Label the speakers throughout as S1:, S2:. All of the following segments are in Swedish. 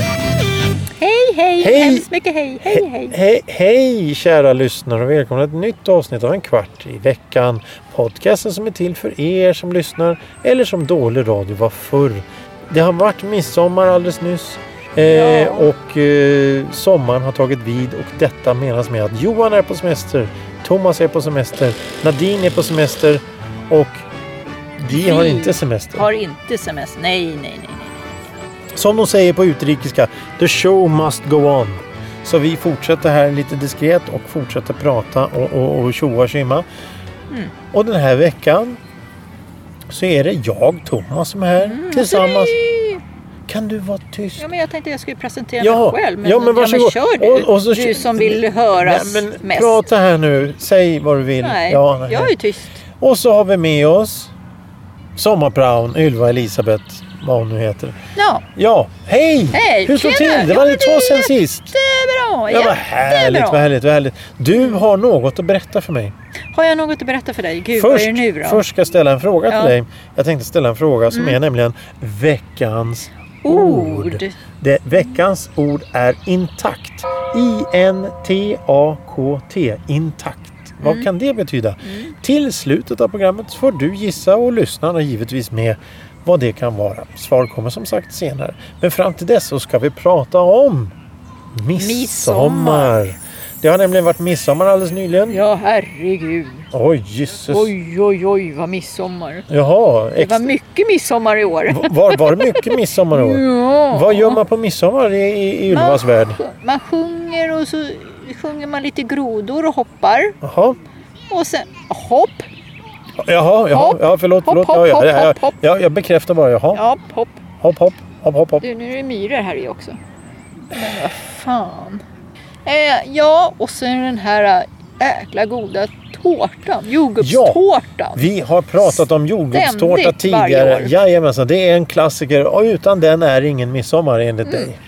S1: Hej, hej!
S2: Hej.
S1: Hemskt mycket hej, hej, hej!
S2: Hej, hej kära lyssnare och välkomna till ett nytt avsnitt av En kvart i veckan. Podcasten som är till för er som lyssnar eller som dålig radio var förr. Det har varit midsommar alldeles nyss eh,
S1: Ja.
S2: och eh, sommaren har tagit vid och detta menas med att Johan är på semester, Thomas är på semester, Nadine är på semester och vi har
S1: Vi
S2: inte semester.
S1: Har inte semester. Nej, nej, nej. nej.
S2: Som de säger på utrikiska, the show must go on. Så vi fortsätter här lite diskret och fortsätter prata och, och, och tjoa och tjimma.
S1: Mm.
S2: Och den här veckan så är det jag, Thomas, som är här
S1: Mm,
S2: tillsammans. Kan du vara tyst?
S1: Ja, men jag tänkte jag skulle presentera
S2: Ja,
S1: mig själv. Men,
S2: ja, men varsågåd.
S1: Ja, men kör du.
S2: Och- och så-
S1: du som vill höras
S2: Nej, men
S1: mest.
S2: prata här nu. Säg vad du vill.
S1: Nej,
S2: Ja, nej.
S1: jag är tyst.
S2: Och så har vi med oss Sommarpraon, Ylva Elisabeth, vad hon nu heter.
S1: Ja,
S2: Ja, hej!
S1: Hej,
S2: Hur står det
S1: tjena!
S2: till? Det
S1: Ja,
S2: var
S1: men
S2: lite
S1: det
S2: två
S1: är
S2: sen sist.
S1: jättebra.
S2: Ja, vad
S1: jättebra.
S2: härligt, vad härligt, vad härligt. Du har något att berätta för mig.
S1: Har jag något att berätta för dig? Gud, vad är
S2: först,
S1: det nu då?
S2: först ska jag ställa en fråga
S1: Ja. Mm.
S2: till dig. Jag tänkte ställa en fråga som är nämligen veckans ord.
S1: Ord.
S2: Det, veckans ord är intakt. I-N-T-A-K-T. Intakt. Vad
S1: Mm.
S2: kan det betyda? Till slutet av programmet får du gissa och lyssnarna givetvis med vad det kan vara. Svar kommer som sagt senare. Men fram till dess så ska vi prata om midsommar.
S1: Midsommar.
S2: Det har nämligen varit midsommar alldeles nyligen.
S1: Ja, herregud.
S2: Oj, jösses.
S1: Oj, oj, oj, vad midsommar.
S2: Jaha,
S1: Det var
S2: extra.
S1: mycket midsommar i år.
S2: Var, var det mycket midsommar i år?
S1: Ja. Ah.
S2: Vad gör man på midsommar i, i, i Ylvas värld?
S1: Man sjunger och så sjunger man lite grodor och hoppar.
S2: Jaha.
S1: Och sen hopp,
S2: Jaha, jaha.
S1: Hopp.
S2: Ja, förlåt.
S1: Hopp,
S2: förlåt.
S1: hopp,
S2: ja, ja,
S1: hopp,
S2: ja,
S1: hopp, hopp.
S2: Ja, jag bekräftar bara. Jaha.
S1: ja hopp.
S2: Hopp, hopp, hopp, hopp, hopp.
S1: Du, nu är det myror här i också. Men vad fan. Eh, ja, och sen den här äh, jäkla goda tårtan. Jordgubbstårtan.
S2: Vi har pratat om jordgubbstårta
S1: Ständigt varje
S2: tidigare.
S1: år.
S2: Jajamensan, det är en klassiker och utan den är ingen midsommar enligt
S1: Mm.
S2: dig.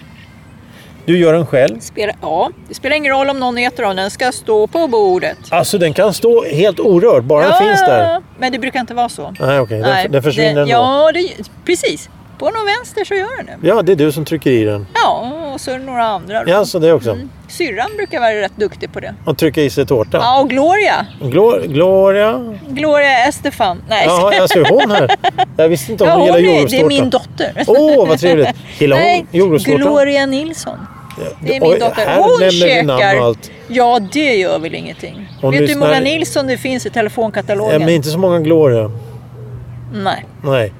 S2: Du gör den själv.
S1: Spelar, ja, det spelar ingen roll om någon äter av den. Den ska stå på bordet.
S2: Alltså den kan stå helt orörd, bara den finns där.
S1: Men det brukar inte vara så.
S2: Nej okej,
S1: Nej,
S2: den, den försvinner
S1: den,
S2: ändå. Ja.
S1: Ja, det, precis. På någon vänster så gör den det.
S2: det är du som trycker i den.
S1: Ja, och så är det några andra. då.
S2: Ja, så det också.
S1: Mm. Syrran brukar vara rätt duktig på det.
S2: Och trycka i sig tårta.
S1: Ja, och Gloria.
S2: Glor- Gloria?
S1: Gloria Estefan. Nej,
S2: Jaha, jag ser hon här. Jag visste inte om
S1: Ja,
S2: hon
S1: hon
S2: gillar
S1: är, det är
S2: jordgubbstårta.
S1: min dotter.
S2: Åh, vad trevligt. Gillar
S1: Nej,
S2: hon jordgubbstårta?
S1: Gloria Nilsson. Det är min
S2: Oj,
S1: dotter.
S2: här
S1: Hon
S2: nämner vi namn och
S1: käkar.
S2: allt.
S1: Ja, det gör väl ingenting.
S2: Hon
S1: Vet du hur
S2: lyssnar-
S1: många Nilsson det finns i
S2: Ja,
S1: telefonkatalogen?
S2: Äh, men inte så många Gloria.
S1: Nej.
S2: Nej.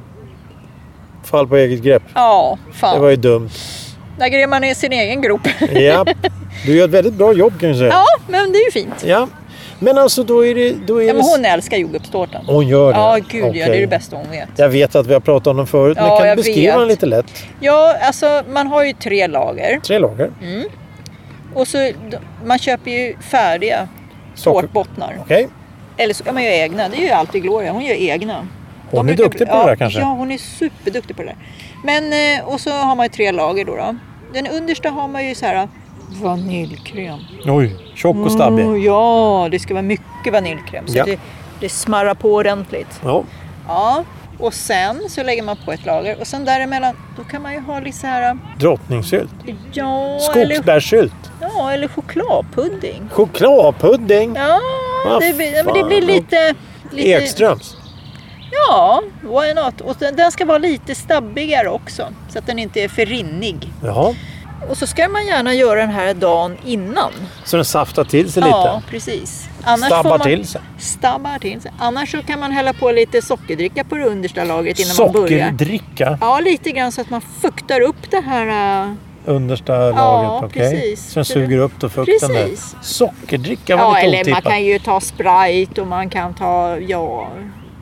S2: Fall på eget grepp.
S1: Ja,
S2: Det
S1: fan.
S2: var ju dumt.
S1: Där gräver man i sin egen grop.
S2: Ja. Du gör ett väldigt bra jobb kan jag säga.
S1: ja, men det är ju fint.
S2: Ja. Men alltså då är det... Då är
S1: Ja, men
S2: det...
S1: hon älskar jordgubbstårtan.
S2: hon gör det?
S1: Ja, gud ja. Det är
S2: Okej.
S1: det bästa hon vet.
S2: Jag vet att vi har pratat om den förut,
S1: Ja,
S2: men kan du
S1: jag
S2: beskriva
S1: vet.
S2: den lite lätt?
S1: Ja, alltså man har ju tre lager.
S2: Tre lager.
S1: Mm. Och så, d- man köper ju färdiga
S2: Socker-
S1: tårtbottnar.
S2: Okej.
S1: Eller så kan man göra egna. Det är ju alltid Gloria. Hon gör egna.
S2: Hon
S1: De
S2: är
S1: brukar-
S2: duktig på
S1: ja,
S2: det där kanske?
S1: Ja, hon är superduktig på det där. Men, eh, och så har man ju tre lager då. då. Den understa har man ju så här eh, vaniljkräm.
S2: Oj, tjock och stabbig.
S1: Mm, ja, det ska vara mycket vaniljkräm. Så
S2: Ja.
S1: det, det smarrar på ordentligt.
S2: Ja.
S1: Ja, och sen så lägger man på ett lager och sen däremellan då kan man ju ha lite så här, eh,
S2: Drottningsylt.
S1: ja, eller,
S2: Skogsbärssylt.
S1: ja eller chokladpudding.
S2: Chokladpudding.
S1: Ja,
S2: Vad
S1: det, blir- ja, men det
S2: Ah, fan.
S1: blir lite... lite
S2: Ekströms.
S1: Ja, why not? Och den, den ska vara lite stabbigare också så att den inte är för rinnig.
S2: Jaha.
S1: Och så ska man gärna göra den här dagen innan.
S2: Så den saftar till sig
S1: Ja,
S2: lite.
S1: precis. Annars
S2: Stabbar
S1: får man,
S2: till sig.
S1: Stabbar till sig. Annars så kan man hälla på lite sockerdricka på det understa lagret innan man börjar.
S2: Sockerdricka.
S1: Ja, lite grann så att man fuktar upp det här. äh,
S2: Understa lagret, okej.
S1: precis.
S2: Så den suger upp då fukten
S1: Precis.
S2: där. Sockerdricka var
S1: Ja,
S2: lite
S1: eller
S2: otippat.
S1: man kan ju ta Sprite och man kan ta, ja...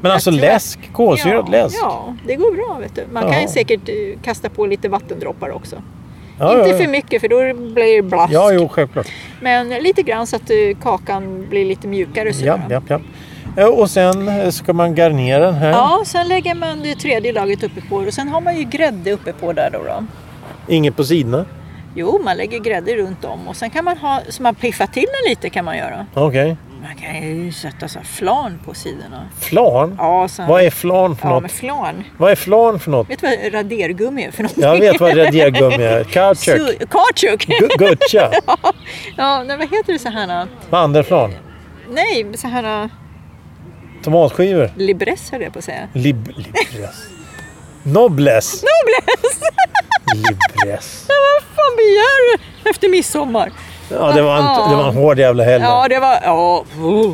S2: Men alltså
S1: jag tror att-
S2: läsk, kolsyrad
S1: ja,
S2: läsk.
S1: Ja, det går bra vet du. Man kan
S2: Jaha.
S1: ju säkert eh, kasta på lite vattendroppar också.
S2: Ja,
S1: Inte
S2: ja, ja.
S1: för mycket för då blir det blask.
S2: Ja, jo, självklart.
S1: Men lite grann så att eh, kakan blir lite mjukare. sådär.
S2: Ja, ja, ja. Ja, Och sen eh, ska man garnera den här.
S1: Ja, sen lägger man det tredje lagret uppe på och sen har man ju grädde uppe på där då. då.
S2: Inget på sidorna.
S1: Jo, man lägger grädde runt om och sen kan man ha, så man piffar till den lite kan man göra.
S2: Okej.
S1: Man kan ju sätta så här flan på sidorna.
S2: Flarn?
S1: Ja, så
S2: Vad är flarn för
S1: ja
S2: något?
S1: men flan.
S2: Vad är flarn för något?
S1: Vet du vad radergummi är för någonting?
S2: Jag vet vad radiergummi är. Kautschuk.
S1: Su- Kautschuk!
S2: Gu- Gutja.
S1: Ja, nej, vad heter det så här? äh?
S2: Mandelflarn.
S1: Nej, så här äh,
S2: Tomatskivor.
S1: libress höll jag på att säga.
S2: Lib... Libres. Nobles. Nobles! Libres.
S1: Vad fan begär du efter midsommar?
S2: Ja, det var en, det var en hård jävla helg.
S1: Ja, det var... Ja, oh.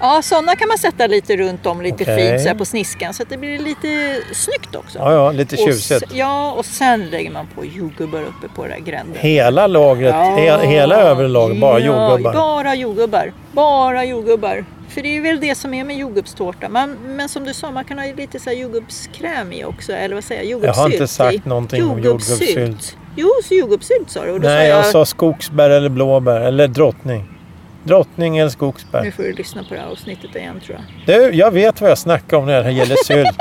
S1: ja sådana kan man sätta lite runt om, lite
S2: Okej.
S1: fint så här på sniskan så att det blir lite snyggt också.
S2: Ja, ja, lite
S1: Och
S2: tjusigt.
S1: se- Ja, och sen lägger man på jordgubbar uppe på det där gränden.
S2: Hela lagret, he, hela övre lagret, bara
S1: ja,
S2: jordgubbar.
S1: Bara jordgubbar. Bara jordgubbar. För det är väl det som är med jordgubbstårta. Man, men som du sa, man kan ha lite så här jordgubbskräm i också. Eller vad säger jag?
S2: Jag
S1: Jordgubbssylt.
S2: har inte
S1: i.
S2: sagt någonting om jordgubbssylt.
S1: Jo, så jordgubbssylt sa du. Och då
S2: Nej,
S1: sa
S2: jag sa skogsbär eller blåbär eller drottning. Drottning eller
S1: Nu
S2: skogsbär.
S1: får du lyssna på det här avsnittet igen tror jag.
S2: Du, jag vet vad jag snackar om när det gäller sylt.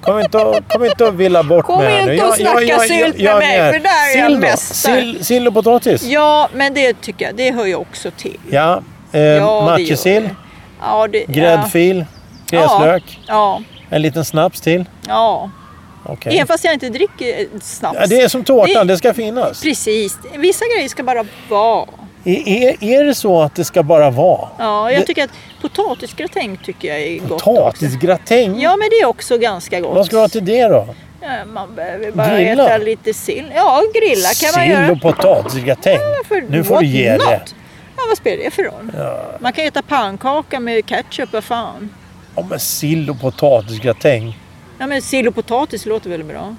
S2: Kom inte och, kom inte och villa bort
S1: Kom
S2: mig här
S1: inte
S2: nu.
S1: och snacka sylt med mig,
S2: är-
S1: för där är jag
S2: sill då.
S1: mästare.
S2: Sill, sill och potatis.
S1: Ja, men det tycker jag. Det hör ju också till.
S2: Ja, eh,
S1: gör
S2: matjessill,
S1: det. Ja, det,
S2: gräddfil, gräslök,
S1: Ja,
S2: en liten snaps till.
S1: ja. ja.
S2: Okej.
S1: Även fast jag inte dricker eh, snaps.
S2: Ja, det är som tårtan,
S1: Det-
S2: det ska finnas.
S1: Precis. Vissa grejer ska bara vara.
S2: Är, är, är det så att det ska bara vara?
S1: Ja, jag
S2: Det-
S1: tycker att potatisgratäng tycker jag är gott också.
S2: Potatisgratäng?
S1: Ja, men det är också ganska gott.
S2: Vad ska du ha till det då?
S1: Ja, Man behöver bara
S2: Grilla?
S1: äta lite sill. Ja, grilla kan man
S2: Sill
S1: göra.
S2: och potatisgratäng?
S1: Varför
S2: Nu får du ge
S1: not?
S2: det.
S1: Ja, vad spelar det för roll? Man kan äta pannkaka med ketchup, vad fan.
S2: Ja, men sill och potatisgratäng.
S1: Ja, men sill och potatis låter väl bra?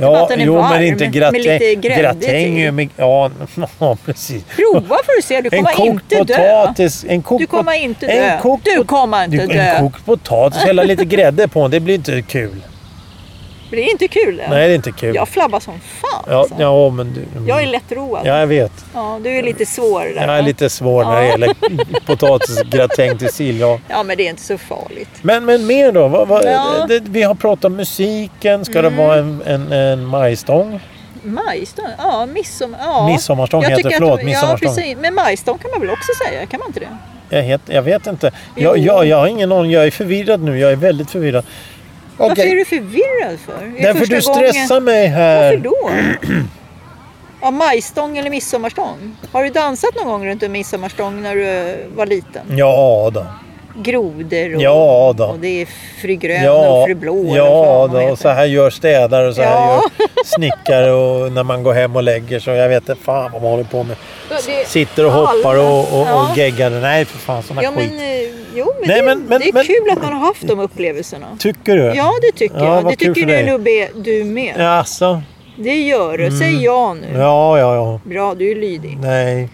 S1: bara
S2: Ja,
S1: att den är
S2: jo,
S1: varm,
S2: men inte
S1: med
S2: gratäng.
S1: lite grädde
S2: gratäng är ju
S1: till.
S2: med, ja, ja, precis.
S1: Prova får du se, du
S2: En
S1: kommer
S2: kokt
S1: inte dö.
S2: potatis. En kokt
S1: Du kommer
S2: pot-
S1: inte
S2: en
S1: dö.
S2: kokt
S1: Du
S2: pot-
S1: kommer inte
S2: du, En
S1: dö.
S2: kokt potatis, hälla lite grädde på den, det blir inte kul.
S1: Det är inte kul det.
S2: Nej, det är inte kul.
S1: Jag flabbar som fan.
S2: ja,
S1: alltså.
S2: ja, men du,
S1: Jag är lättroad.
S2: Ja, jag vet.
S1: Ja, du är lite svår där.
S2: Jag är
S1: va?
S2: lite svår när det
S1: Ja.
S2: gäller potatisgratäng till sill. Ja.
S1: Ja, men det är inte så farligt.
S2: Men, men mer då? Vad, vad,
S1: Ja. Mm.
S2: det, vi har pratat om musiken. Ska det vara en, en, en majstång?
S1: Majstång? Ja, midsommar. Ja.
S2: Midsommarstång
S1: Jag
S2: heter
S1: tycker
S2: det.
S1: att-
S2: Förlåt,
S1: Ja,
S2: midsommarstång.
S1: precis. Men majstång kan man väl också säga? Kan man inte det?
S2: jag, heter, jag vet inte. Jag,
S1: Jo.
S2: jag, jag har ingen aning. Jag är förvirrad nu. Jag är väldigt förvirrad.
S1: Varför
S2: Okej.
S1: är du förvirrad för? Är det
S2: Därför
S1: första
S2: du
S1: gången-
S2: stressar mig här.
S1: Varför då? Ja, majstång eller midsommarstång? Har du dansat någon gång runt en midsommarstång när du var liten?
S2: Ja då.
S1: Grodor och,
S2: Ja då.
S1: och det är fru grön och
S2: Ja,
S1: fru blå. eller
S2: ja
S1: vad fan de
S2: då. Och så
S1: heter.
S2: här gör städare och så här
S1: Ja.
S2: gör snickare och när man går hem och lägger sig. Jag vet inte fan vad man håller på med.
S1: Det-
S2: Sitter och hoppar och, och,
S1: Ja.
S2: och geggar. Nej för fan sådana
S1: Ja, men,
S2: skit.
S1: eh, jo, men,
S2: Nej,
S1: det,
S2: men- men-
S1: det är
S2: men-
S1: kul att man har haft de upplevelserna.
S2: Tycker du?
S1: Ja, det tycker
S2: Ja,
S1: jag.
S2: vad
S1: Det
S2: kul
S1: tycker
S2: för
S1: du
S2: dig.
S1: Lubbe, du med.
S2: Jaså?
S1: Det gör du. Säg ja nu.
S2: Mm. Ja, ja, ja.
S1: Bra, du är lydig.
S2: Nej,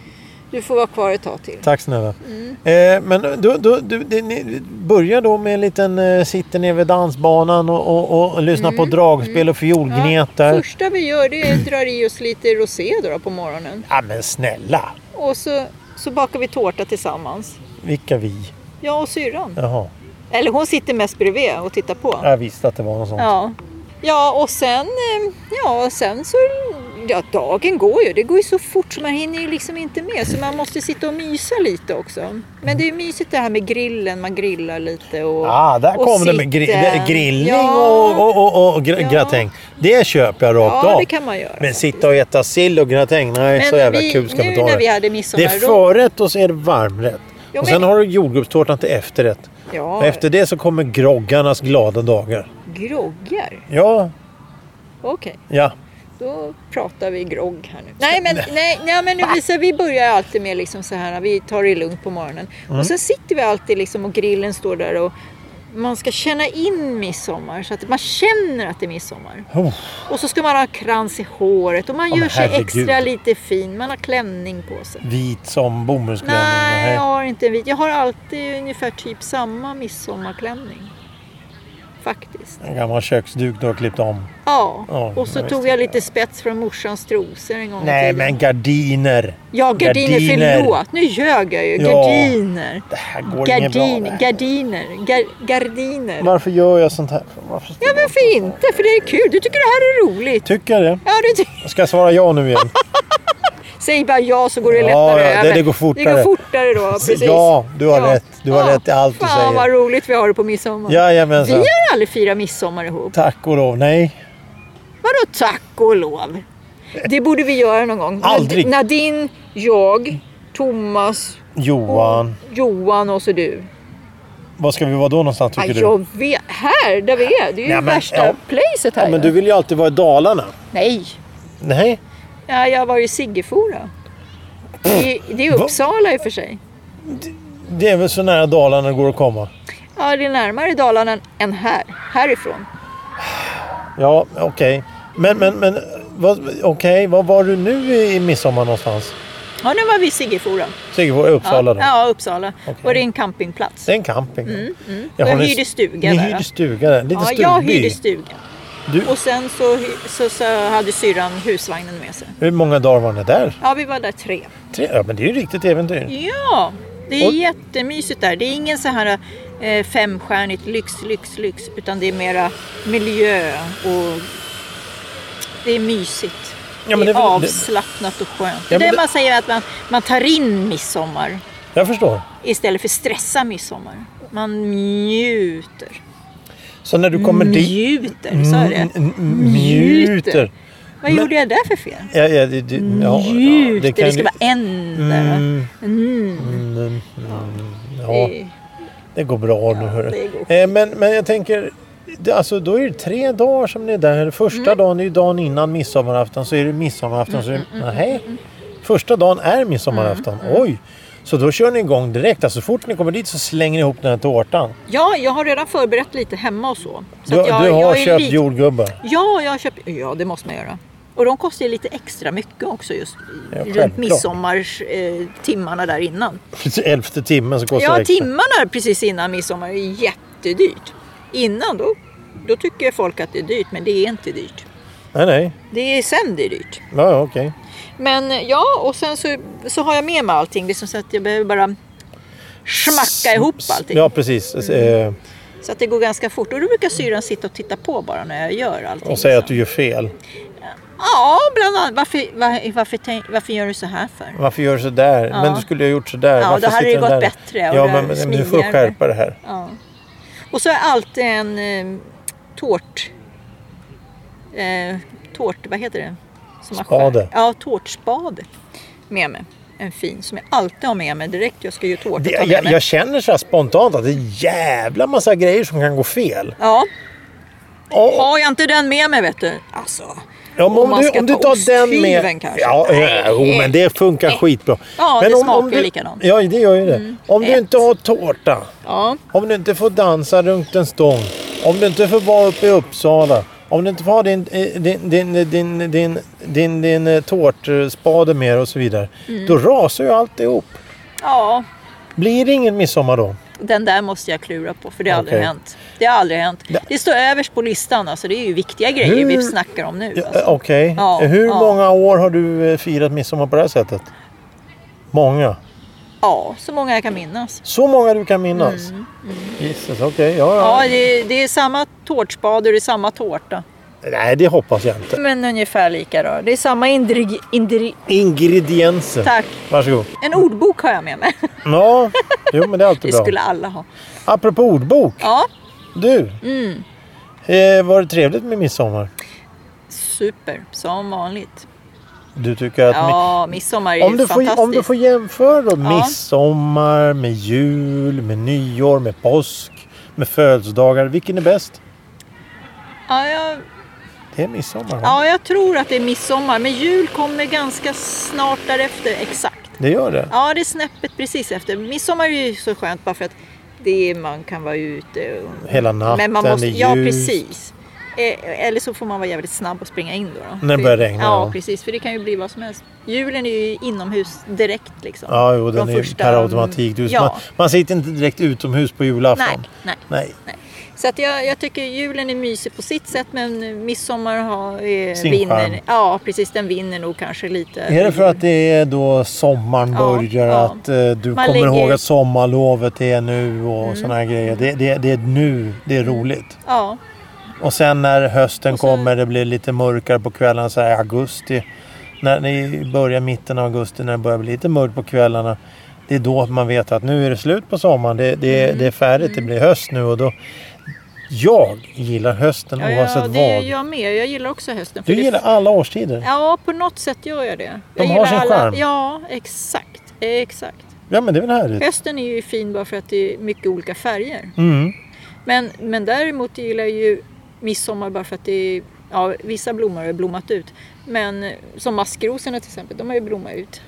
S1: Du får vara kvar ett tag till.
S2: tack snälla.
S1: Mm.
S2: Eh, men då, då, du, det, ni börjar då med en liten eh, sitter ner vid dansbanan och, och, och lyssnar
S1: Mm.
S2: på dragspel och fiolgnetar. Ja,
S1: första vi gör det är att dra i oss lite rosé då, då på morgonen.
S2: men snälla!
S1: Och så, så bakar vi tårta tillsammans.
S2: Vilka vi?
S1: Jag och syrran.
S2: Jaha,
S1: Eller hon sitter mest bredvid och tittar på.
S2: jag visste att det var något sånt.
S1: Ja. Ja, och sen, eh, ja, sen så... Ja, dagen går ju. Det går ju så fort så man hinner ju liksom inte med. Så man måste sitta och mysa lite också. Men det är ju mysigt det här med grillen. Man grillar lite och...
S2: Ah, där
S1: och
S2: kom det med gri-
S1: sitter.
S2: det- grillning
S1: Ja.
S2: och, och, och, och gr-
S1: Ja.
S2: gratäng. Det köper jag rakt
S1: Ja,
S2: av.
S1: det kan man göra.
S2: Men sitta och äta sill och gratäng, nej så jävla
S1: vi,
S2: kul ska man
S1: nu
S2: inte ha
S1: när vi
S2: det.
S1: hade
S2: Det
S1: midsommar...
S2: är förrätt och så är det varmrätt.
S1: Jo,
S2: och
S1: men-
S2: sen har du jordgubbstårtan till efterrätt.
S1: ja,
S2: Och efter det så kommer groggarnas glada dagar.
S1: groggar.
S2: Ja,
S1: Okej,
S2: ja.
S1: då pratar vi grogg här nu. Nej, men, nej, nej, men nu visar, vi börjar alltid med liksom så här, vi tar det lugnt på morgonen. Och sen sitter vi alltid liksom och grillen står där och man ska känna in midsommar så att man känner att det är midsommar.
S2: Oh,
S1: Och så ska man ha krans i håret och man
S2: Ja,
S1: gör
S2: men
S1: sig
S2: herregud.
S1: extra lite fin. Man har klänning på sig.
S2: vit som bomullsklänning.
S1: Nej, jag
S2: Nej.
S1: har inte en vit. Jag har alltid ungefär typ samma midsommarklänning. faktiskt.
S2: En gammal köksduk du har klippt om.
S1: Ja,
S2: Ja,
S1: och så
S2: jag
S1: tog
S2: visste
S1: jag
S2: det.
S1: lite spets från morsans trosor en gång i
S2: Nej
S1: tiden.
S2: men gardiner.
S1: Ja, gardiner,
S2: Gardiner.
S1: förlåt. Nu ljög jag ju.
S2: Ja.
S1: Gardiner.
S2: Det här går inget bra. det
S1: Gardin,
S2: här.
S1: gardiner. Gar, gardiner.
S2: Varför gör jag sånt här? Varför
S1: Ja, varför inte? För det är kul. Du tycker det här är roligt.
S2: Tycker jag det?
S1: Ja, du ty-
S2: Ska jag svara ja nu igen?
S1: Säg bara ja så går det
S2: Ja,
S1: lättare
S2: ja, det-
S1: över.
S2: det går
S1: Det
S2: fortare.
S1: går fortare då, precis.
S2: Ja, du har rätt. Du har rätt i allt du
S1: Fan,
S2: säger. alltså.
S1: vad roligt vi har det på midsommar. vi
S2: Jajamensan.
S1: har aldrig firat midsommar ihop.
S2: Tack och lov. Nej.
S1: Vadå tack och lov? Det borde vi göra någon gång.
S2: Aldrig.
S1: Nad- Nadine, jag, Thomas,
S2: Johan.
S1: Johan och så du.
S2: Var ska vi vara då någonstans tycker
S1: Ja,
S2: du?
S1: jag vet. Här där vi är. Det är ju
S2: Nej, men,
S1: värsta
S2: ja.
S1: placet här.
S2: Ja, men du
S1: ju.
S2: vill ju alltid vara i Dalarna.
S1: Nej.
S2: Nej.
S1: Ja, jag var i Siggefora. I, det är
S2: Va?
S1: Uppsala i och för sig.
S2: Det är väl så nära Dalarna det går att komma.
S1: Ja, det är närmare Dalarna än här. Härifrån.
S2: Ja, okej. Men, men, men vad, okej, var var du nu i, i midsommar någonstans?
S1: Ja, nu var vi i Siggefora.
S2: Siggefors, Uppsala
S1: ja,
S2: då?
S1: ja, Uppsala.
S2: Okej.
S1: Och det är en campingplats.
S2: Det är en camping.
S1: Jag
S2: har ni-
S1: hyrde stuga
S2: Ni
S1: där,
S2: hyrde
S1: ja.
S2: stuga där. Lite
S1: Ja,
S2: stugby.
S1: jag hyrde stugan.
S2: Du-
S1: Och sen så, hy- så, så hade syrran husvagnen med sig.
S2: Hur många dagar var ni där?
S1: Ja, vi var där tre.
S2: Tre? Ja, men det är ju ett riktigt äventyr.
S1: Ja, det är
S2: Och-
S1: jättemysigt där. Det är ingen så här eh, femstjärnigt lyx, lyx, lyx. Utan det är mera miljö och det är mysigt.
S2: Ja, men
S1: det är
S2: det är väl- det-
S1: avslappnat och skönt.
S2: Ja,
S1: det är
S2: men
S1: det
S2: det-
S1: man säger att man, man tar in midsommar
S2: Jag förstår.
S1: istället för stressa midsommar. Man njuter.
S2: Så när du kommer dit...
S1: Njuter, sa jag det?
S2: N- n- Njuter.
S1: Vad
S2: Mm, Men-
S1: gjorde jag där för fel?
S2: Ja, ja, det, det, ja, ja,
S1: Njuter,
S2: det
S1: det,
S2: kan
S1: ska
S2: ju...
S1: vara en där. va?
S2: Mm,
S1: Mm.
S2: mm, mm, ja,
S1: Det-
S2: det går bra nu.
S1: det
S2: Hörru.
S1: går
S2: Eh, men, men jag tänker, det, alltså, då är det tre dagar som ni är där. Första
S1: Mm.
S2: dagen är ju dagen innan midsommarafton, så är det midsommarafton. så är
S1: Mm,
S2: det, nej, första dagen är midsommarafton. Oj! Så då kör ni igång direkt. Alltså, så fort ni kommer dit så slänger ni ihop den här tårtan.
S1: Ja, jag har redan förberett lite hemma och så. så
S2: Du,
S1: att jag,
S2: du har
S1: jag är
S2: köpt
S1: lite-
S2: jordgubbar.
S1: Ja, jag har köpt... Ja, det måste man göra. Och de kostar ju lite extra mycket också just
S2: Ja,
S1: runt
S2: självklart.
S1: midsommarstimmarna eh, timmarna där innan.
S2: Elfte timmen så kostar det
S1: Ja,
S2: extra.
S1: timmarna precis innan midsommar är jättedyrt. Innan då, då tycker folk att det är dyrt, men det är inte dyrt.
S2: Nej, nej.
S1: Det är sen det är dyrt.
S2: Ja, ja, okej.
S1: Men ja, och sen så, så har jag med mig allting. Det är som så att jag behöver bara smacka ihop allting. Mm.
S2: Ja, precis. Eh,
S1: Så att det går ganska fort. Och då brukar syrran sitta och titta på bara när jag gör allting.
S2: Och säga
S1: så.
S2: att du gör fel.
S1: Ja, bland annat. Varför, var, varför, tänk, varför gör du så här för?
S2: Varför gör du så där?
S1: Ja.
S2: Men du skulle ju ha gjort så där.
S1: Ja,
S2: Varför
S1: då hade
S2: sitter
S1: det
S2: den
S1: gått
S2: där?
S1: bättre och
S2: Ja,
S1: det
S2: men,
S1: är
S2: men du får
S1: smidigare.
S2: skärpa det här.
S1: Ja. Och så är alltid en eh, tårt... Eh, tårt... Vad heter det? Som man skär.
S2: Spade.
S1: Ja, tårtspade med mig. En fin som jag alltid har med mig direkt. Jag ska ju tårta.
S2: Det,
S1: ta med
S2: jag,
S1: mig.
S2: jag känner så här spontant att det är en jävla massa grejer som kan gå fel.
S1: Ja,
S2: Ja,
S1: har jag inte den med mig vet du. Alltså.
S2: ja, men
S1: om man
S2: om, du,
S1: ska
S2: om du
S1: ta
S2: tar den
S1: osthyveln
S2: med...
S1: kanske.
S2: Ja, ja, jo, men det funkar skitbra.
S1: Ja,
S2: men
S1: det
S2: om,
S1: smakar
S2: om
S1: ju
S2: du,
S1: likadant. Mm.
S2: Ja, det gör ju det. Om du
S1: Ett.
S2: inte har tårta,
S1: Ja,
S2: om du inte får dansa runt en stång, om du inte får vara uppe i Uppsala, om du inte får ha din, eh, din, din, din, din, din, din, din eh, tårtspade med dig och så vidare,
S1: Mm.
S2: då rasar ju alltihop.
S1: ja.
S2: Blir det ingen midsommar då?
S1: Den där måste jag klura på för det har aldrig
S2: Okej.
S1: hänt. Det har aldrig hänt.
S2: Det-
S1: Det står överst på listan alltså. Det är ju viktiga grejer
S2: Hur-
S1: vi snackar om nu.
S2: Ja,
S1: Alltså.
S2: eh, Okej.
S1: Ja,
S2: Hur
S1: ja.
S2: många år har du eh, firat midsommar på det här sättet? Många.
S1: Ja, så många jag kan minnas.
S2: Så många du kan minnas? Jesus, okej. Ja,
S1: Mm, Ja,
S2: ja.
S1: det, det är samma tårtspade och det är samma tårta.
S2: Nej, det hoppas jag inte.
S1: Men ungefär lika då. Det är samma indrig... indri,
S2: Ingredienser.
S1: tack.
S2: Varsågod.
S1: En ordbok har jag med mig.
S2: Ja, jo men det är alltid
S1: Det
S2: bra.
S1: skulle alla ha.
S2: Apropå ordbok.
S1: Ja, Mm.
S2: Du, eh, var det trevligt med midsommar?
S1: super. Som vanligt.
S2: Du tycker att... mi-
S1: Ja, midsommar är ju
S2: om, du
S1: fantastiskt.
S2: får, om du får jämföra då
S1: Ja.
S2: midsommar med jul, med nyår, med påsk, med födelsedagar. Vilken är bäst?
S1: ja, jag,
S2: Det är midsommar. va?
S1: ja, jag tror att det är midsommar. Men jul kommer ganska snart därefter. Exakt.
S2: Det gör det.
S1: Ja, det är snäppet precis efter. Midsommar är ju så skönt bara för att det är, man kan vara ute och
S2: Hela natten,
S1: Men man måste,
S2: det är
S1: ja,
S2: ljust.
S1: precis. Eh, Eller så får man vara jävligt snabb och springa in då. då.
S2: När det börjar regna,
S1: Ja,
S2: ja.
S1: precis. För det kan ju bli vad som helst. Julen är ju inomhus direkt liksom.
S2: Ja, jo, den
S1: De
S2: är ju
S1: första,
S2: per automatik. Du,
S1: ja.
S2: man, man sitter inte direkt utomhus på julafton.
S1: Nej, nej.
S2: Nej.
S1: Så att jag, jag tycker julen är mysig på sitt sätt men midsommar har,
S2: Sin
S1: eh,
S2: charm.
S1: vinner. Ja, precis. Den vinner nog kanske lite.
S2: Är det för att det är då sommaren
S1: Ja,
S2: börjar?
S1: ja.
S2: Att eh, du
S1: Man
S2: kommer
S1: lägger-
S2: ihåg att sommarlovet är nu och mm. sådana här grejer. Det, det, det är nu det är roligt.
S1: Ja,
S2: Och sen när hösten
S1: Och så-
S2: kommer, det blir lite mörkare på kvällarna så här i augusti. När ni börjar mitten av augusti, när det börjar bli lite mörkt på kvällarna. Det är då man vet att nu är det slut på sommaren. Det, det,
S1: Mm.
S2: det är färdigt, det blir höst nu och då... Jag gillar hösten
S1: ja,
S2: oavsett
S1: ja det
S2: vad.
S1: gör jag med. Jag gillar också hösten.
S2: Du
S1: för det-
S2: gillar alla årstider.
S1: Ja, på något sätt gör jag det.
S2: De
S1: jag
S2: har
S1: gillar
S2: sin
S1: alla-
S2: charm.
S1: Ja, exakt. Exakt.
S2: Ja men det är väl härligt.
S1: Hösten är ju fin bara för att det är mycket olika färger.
S2: Mm.
S1: Men, men däremot gillar jag ju midsommar bara för att det är, ja, vissa blommor har ju blommat ut. Men eh, som maskrosorna till exempel, de har ju blommat ut.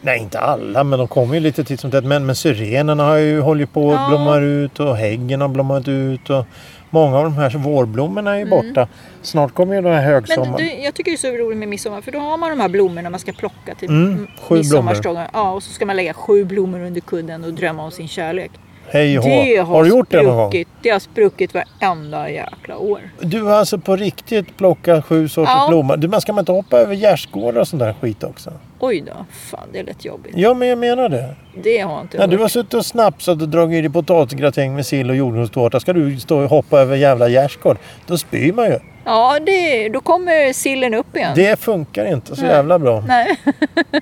S2: Nej inte alla men de kommer ju lite titt som tätt. Men, men syrenerna har ju hållit på och
S1: Ja.
S2: blommar ut och häggen har blommat ut. Och många av de här vårblommorna är ju borta. Snart kommer ju de här
S1: Mm. Men
S2: högsommar.
S1: du, jag tycker det är så roligt med midsommar för då har man de här blommorna man ska plocka till
S2: Mm,
S1: mm,
S2: sju
S1: midsommarstången. Ja, och så ska man lägga sju blommor under kudden och drömma om sin kärlek.
S2: Hej och hå. Har du gjort det någon gång?
S1: spruckit. Det har spruckit varenda jäkla år.
S2: Du har alltså på riktigt plockat sju sorters
S1: Ja.
S2: blommor. Du, men ska man inte hoppa över gärdsgårdar och sån där skit också?
S1: Oj då, fan det lät jobbigt.
S2: Ja, men jag menar det.
S1: Det har jag inte
S2: När
S1: hört.
S2: du har suttit och snapsat och dragit i dig potatisgratäng med sill och jordnötstårta ska du stå och hoppa över jävla gärdsgård. Då spyr man ju.
S1: Ja, det, då kommer sillen upp igen.
S2: Det funkar inte så
S1: Nej.
S2: jävla bra.
S1: Nej.
S2: Eh.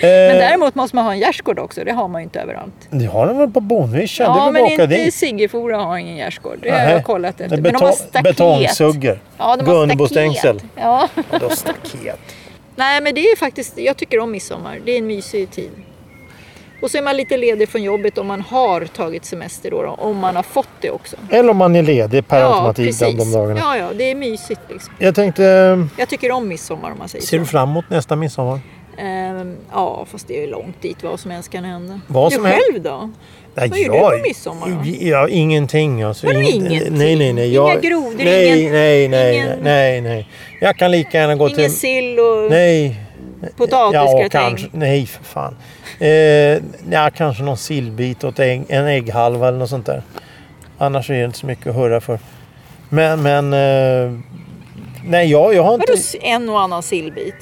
S1: Men däremot måste man ha en gärdsgård också, det har man ju inte överallt.
S2: Det har de väl på Bonvischan? det
S1: Ja,
S2: är väl
S1: men
S2: bara att åka
S1: inte
S2: dit.
S1: Siggefora har ingen gärdsgård, det har
S2: Nähä.
S1: jag kollat efter. Men de
S2: Beto-
S1: har staket.
S2: Betongsugger.
S1: Ja, de har
S2: Gunnebostängsel.
S1: staket. Ja.
S2: Vadå staket?
S1: Nej, men det är faktiskt, jag tycker om midsommar, det är en mysig tid. Och så är man lite ledig från jobbet om man har tagit semester då, då om man har fått det också.
S2: Eller om man är ledig per
S1: ja,
S2: automatik de, de dagarna.
S1: Ja, ja, det är mysigt liksom.
S2: Jag tänkte, eh,
S1: Jag tycker om midsommar om man säger
S2: ser du
S1: så.
S2: fram emot nästa midsommar?
S1: Ehm, ja, fast det är långt dit, vad som helst kan hända.
S2: Vad
S1: du
S2: som helst?
S1: själv då?
S2: Nej,
S1: Vad gör du på midsommar då?
S2: Ja, ingenting alltså.
S1: Vadå
S2: Ingen-
S1: ingenting?
S2: Nej, nej, nej.
S1: Inga grodor,
S2: nej,
S1: ingen-
S2: nej, nej,
S1: ingen-
S2: nej, nej. Jag kan lika gärna gå
S1: Ingen
S2: till...
S1: sill och
S2: Nej. Ja,
S1: potatisgratäng?
S2: kanske. Nej, för fan. Eh, ja, kanske någon sillbit och ett ägg, en ägghalva eller något sånt där. Annars är det inte så mycket att hurra för. Men, men... Eh, nej, jag, jag har inte...
S1: Vadå en och annan sillbit?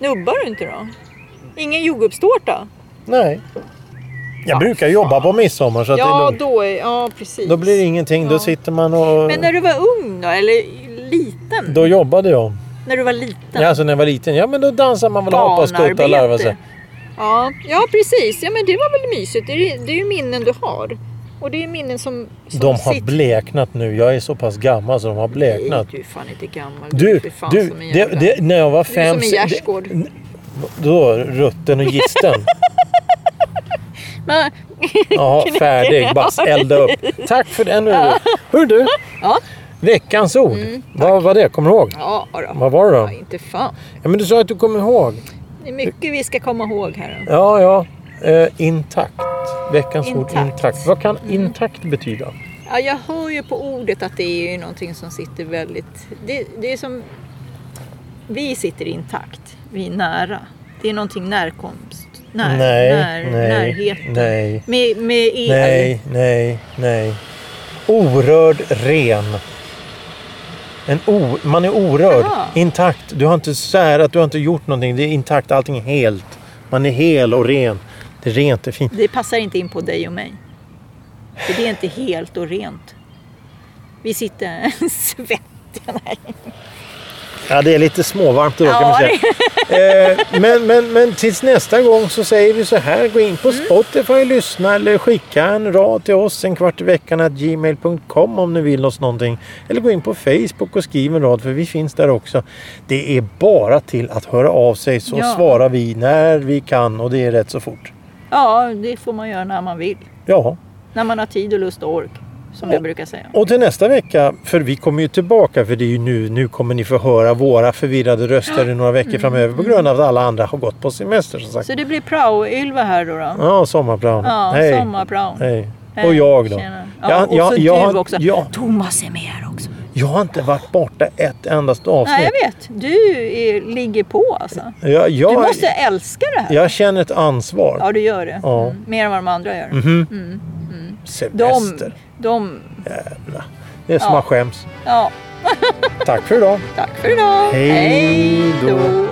S1: Nubbar du inte då? Ingen jordgubbstårta?
S2: Nej. Jag brukar jobba på midsommar så att det är
S1: Ja,
S2: lugnt.
S1: då är, ja, precis.
S2: Då blir det ingenting. Då
S1: Ja.
S2: sitter man och...
S1: Men när du var ung då, eller liten?
S2: Då jobbade jag.
S1: När du var liten?
S2: Ja, alltså när jag var liten, ja men då dansade man väl hoppa och skutta och larva sig.
S1: Ja, ja precis. Ja, men det var väl mysigt. Det är, det är ju minnen du har. Och det är ju minnen som... som
S2: De har
S1: sitter-
S2: bleknat nu. Jag är så pass gammal så de har bleknat.
S1: Nej, du är fan inte gammal.
S2: Du,
S1: är fan
S2: du,
S1: som en
S2: det,
S1: jävla-
S2: det, när jag var
S1: Du är
S2: fem...
S1: som en
S2: se- det-
S1: gärdsgård.
S2: Då, rutten och gisten.
S1: Men-
S2: Jaha, färdig. Bara elda upp. Tack för den. Hör du,
S1: Ja, Mm,
S2: veckans ord. Vad var det? Kommer du ihåg?
S1: ja då.
S2: Vad var det då?
S1: Ja, inte fan.
S2: Ja, men du sa att du kommer ihåg.
S1: Det är mycket vi ska komma ihåg här. alltså. då.
S2: Ja, ja. Eh, intakt. Veckans ord
S1: Intakt.
S2: intakt. Vad kan intakt betyda?
S1: Ja, jag hör ju på ordet att det är ju någonting som sitter väldigt... Det, det är som... Vi sitter intakt. Vi är nära. Det är någonting närkomst. När, när, Närheten.
S2: nej,
S1: Med, med el.
S2: nej, nej, nej. Orörd, ren. En o, man är orörd,
S1: Jaha.
S2: intakt. Du har inte särat, du har inte gjort någonting. Det är intakt, allting är helt. Man är hel och ren. Det är rent, det är fint.
S1: Det passar inte in på dig och mig. För det är inte helt och rent. Vi sitter svettiga. Nej.
S2: Ja, det är lite småvarmt idag kan man
S1: Ja,
S2: säga. Eh, men, men, men tills nästa gång så säger vi så här. Gå in
S1: Mm.
S2: på Spotify och lyssna eller skicka en rad till oss en kvart i veckan att gmail.com om ni vill oss någonting. Eller gå in på Facebook och skriv en rad för vi finns där också. Det är bara till att höra av sig så
S1: Ja.
S2: svarar vi när vi kan och det är rätt så fort.
S1: Ja, det får man göra när man vill.
S2: Ja,
S1: När man har tid och lust och ork. Som jag brukar säga.
S2: och till nästa vecka, för vi kommer ju tillbaka för det är ju nu, nu kommer ni få höra våra förvirrade röster i några veckor framöver på grund av att alla andra har gått på semester som sagt.
S1: Mm. Så det blir prao-Ylva här då. då.
S2: Ja, sommarplan.
S1: Ja,
S2: Hej.
S1: sommarprao.
S2: Hej.
S1: Hej,
S2: Och jag då?
S1: Eh, tjena.
S2: Jag-
S1: Ja, och
S2: jag-
S1: så
S2: jag
S1: du
S2: har-
S1: också.
S2: jag-
S1: Thomas är med här också.
S2: Jag har inte varit borta ett endast avsnitt.
S1: Nej, jag vet. Du är, ligger på alltså.
S2: jag, jag,
S1: Du måste älska det här.
S2: jag känner ett ansvar.
S1: Ja, du gör det.
S2: Ja.
S1: Mm. Mer än vad de andra gör.
S2: Mhm.
S1: Mm.
S2: Semester.
S1: De, de,
S2: Jävlar. Det är som
S1: Ja.
S2: man skäms.
S1: Ja,
S2: Tack för idag.
S1: tack för idag.
S2: Hej då.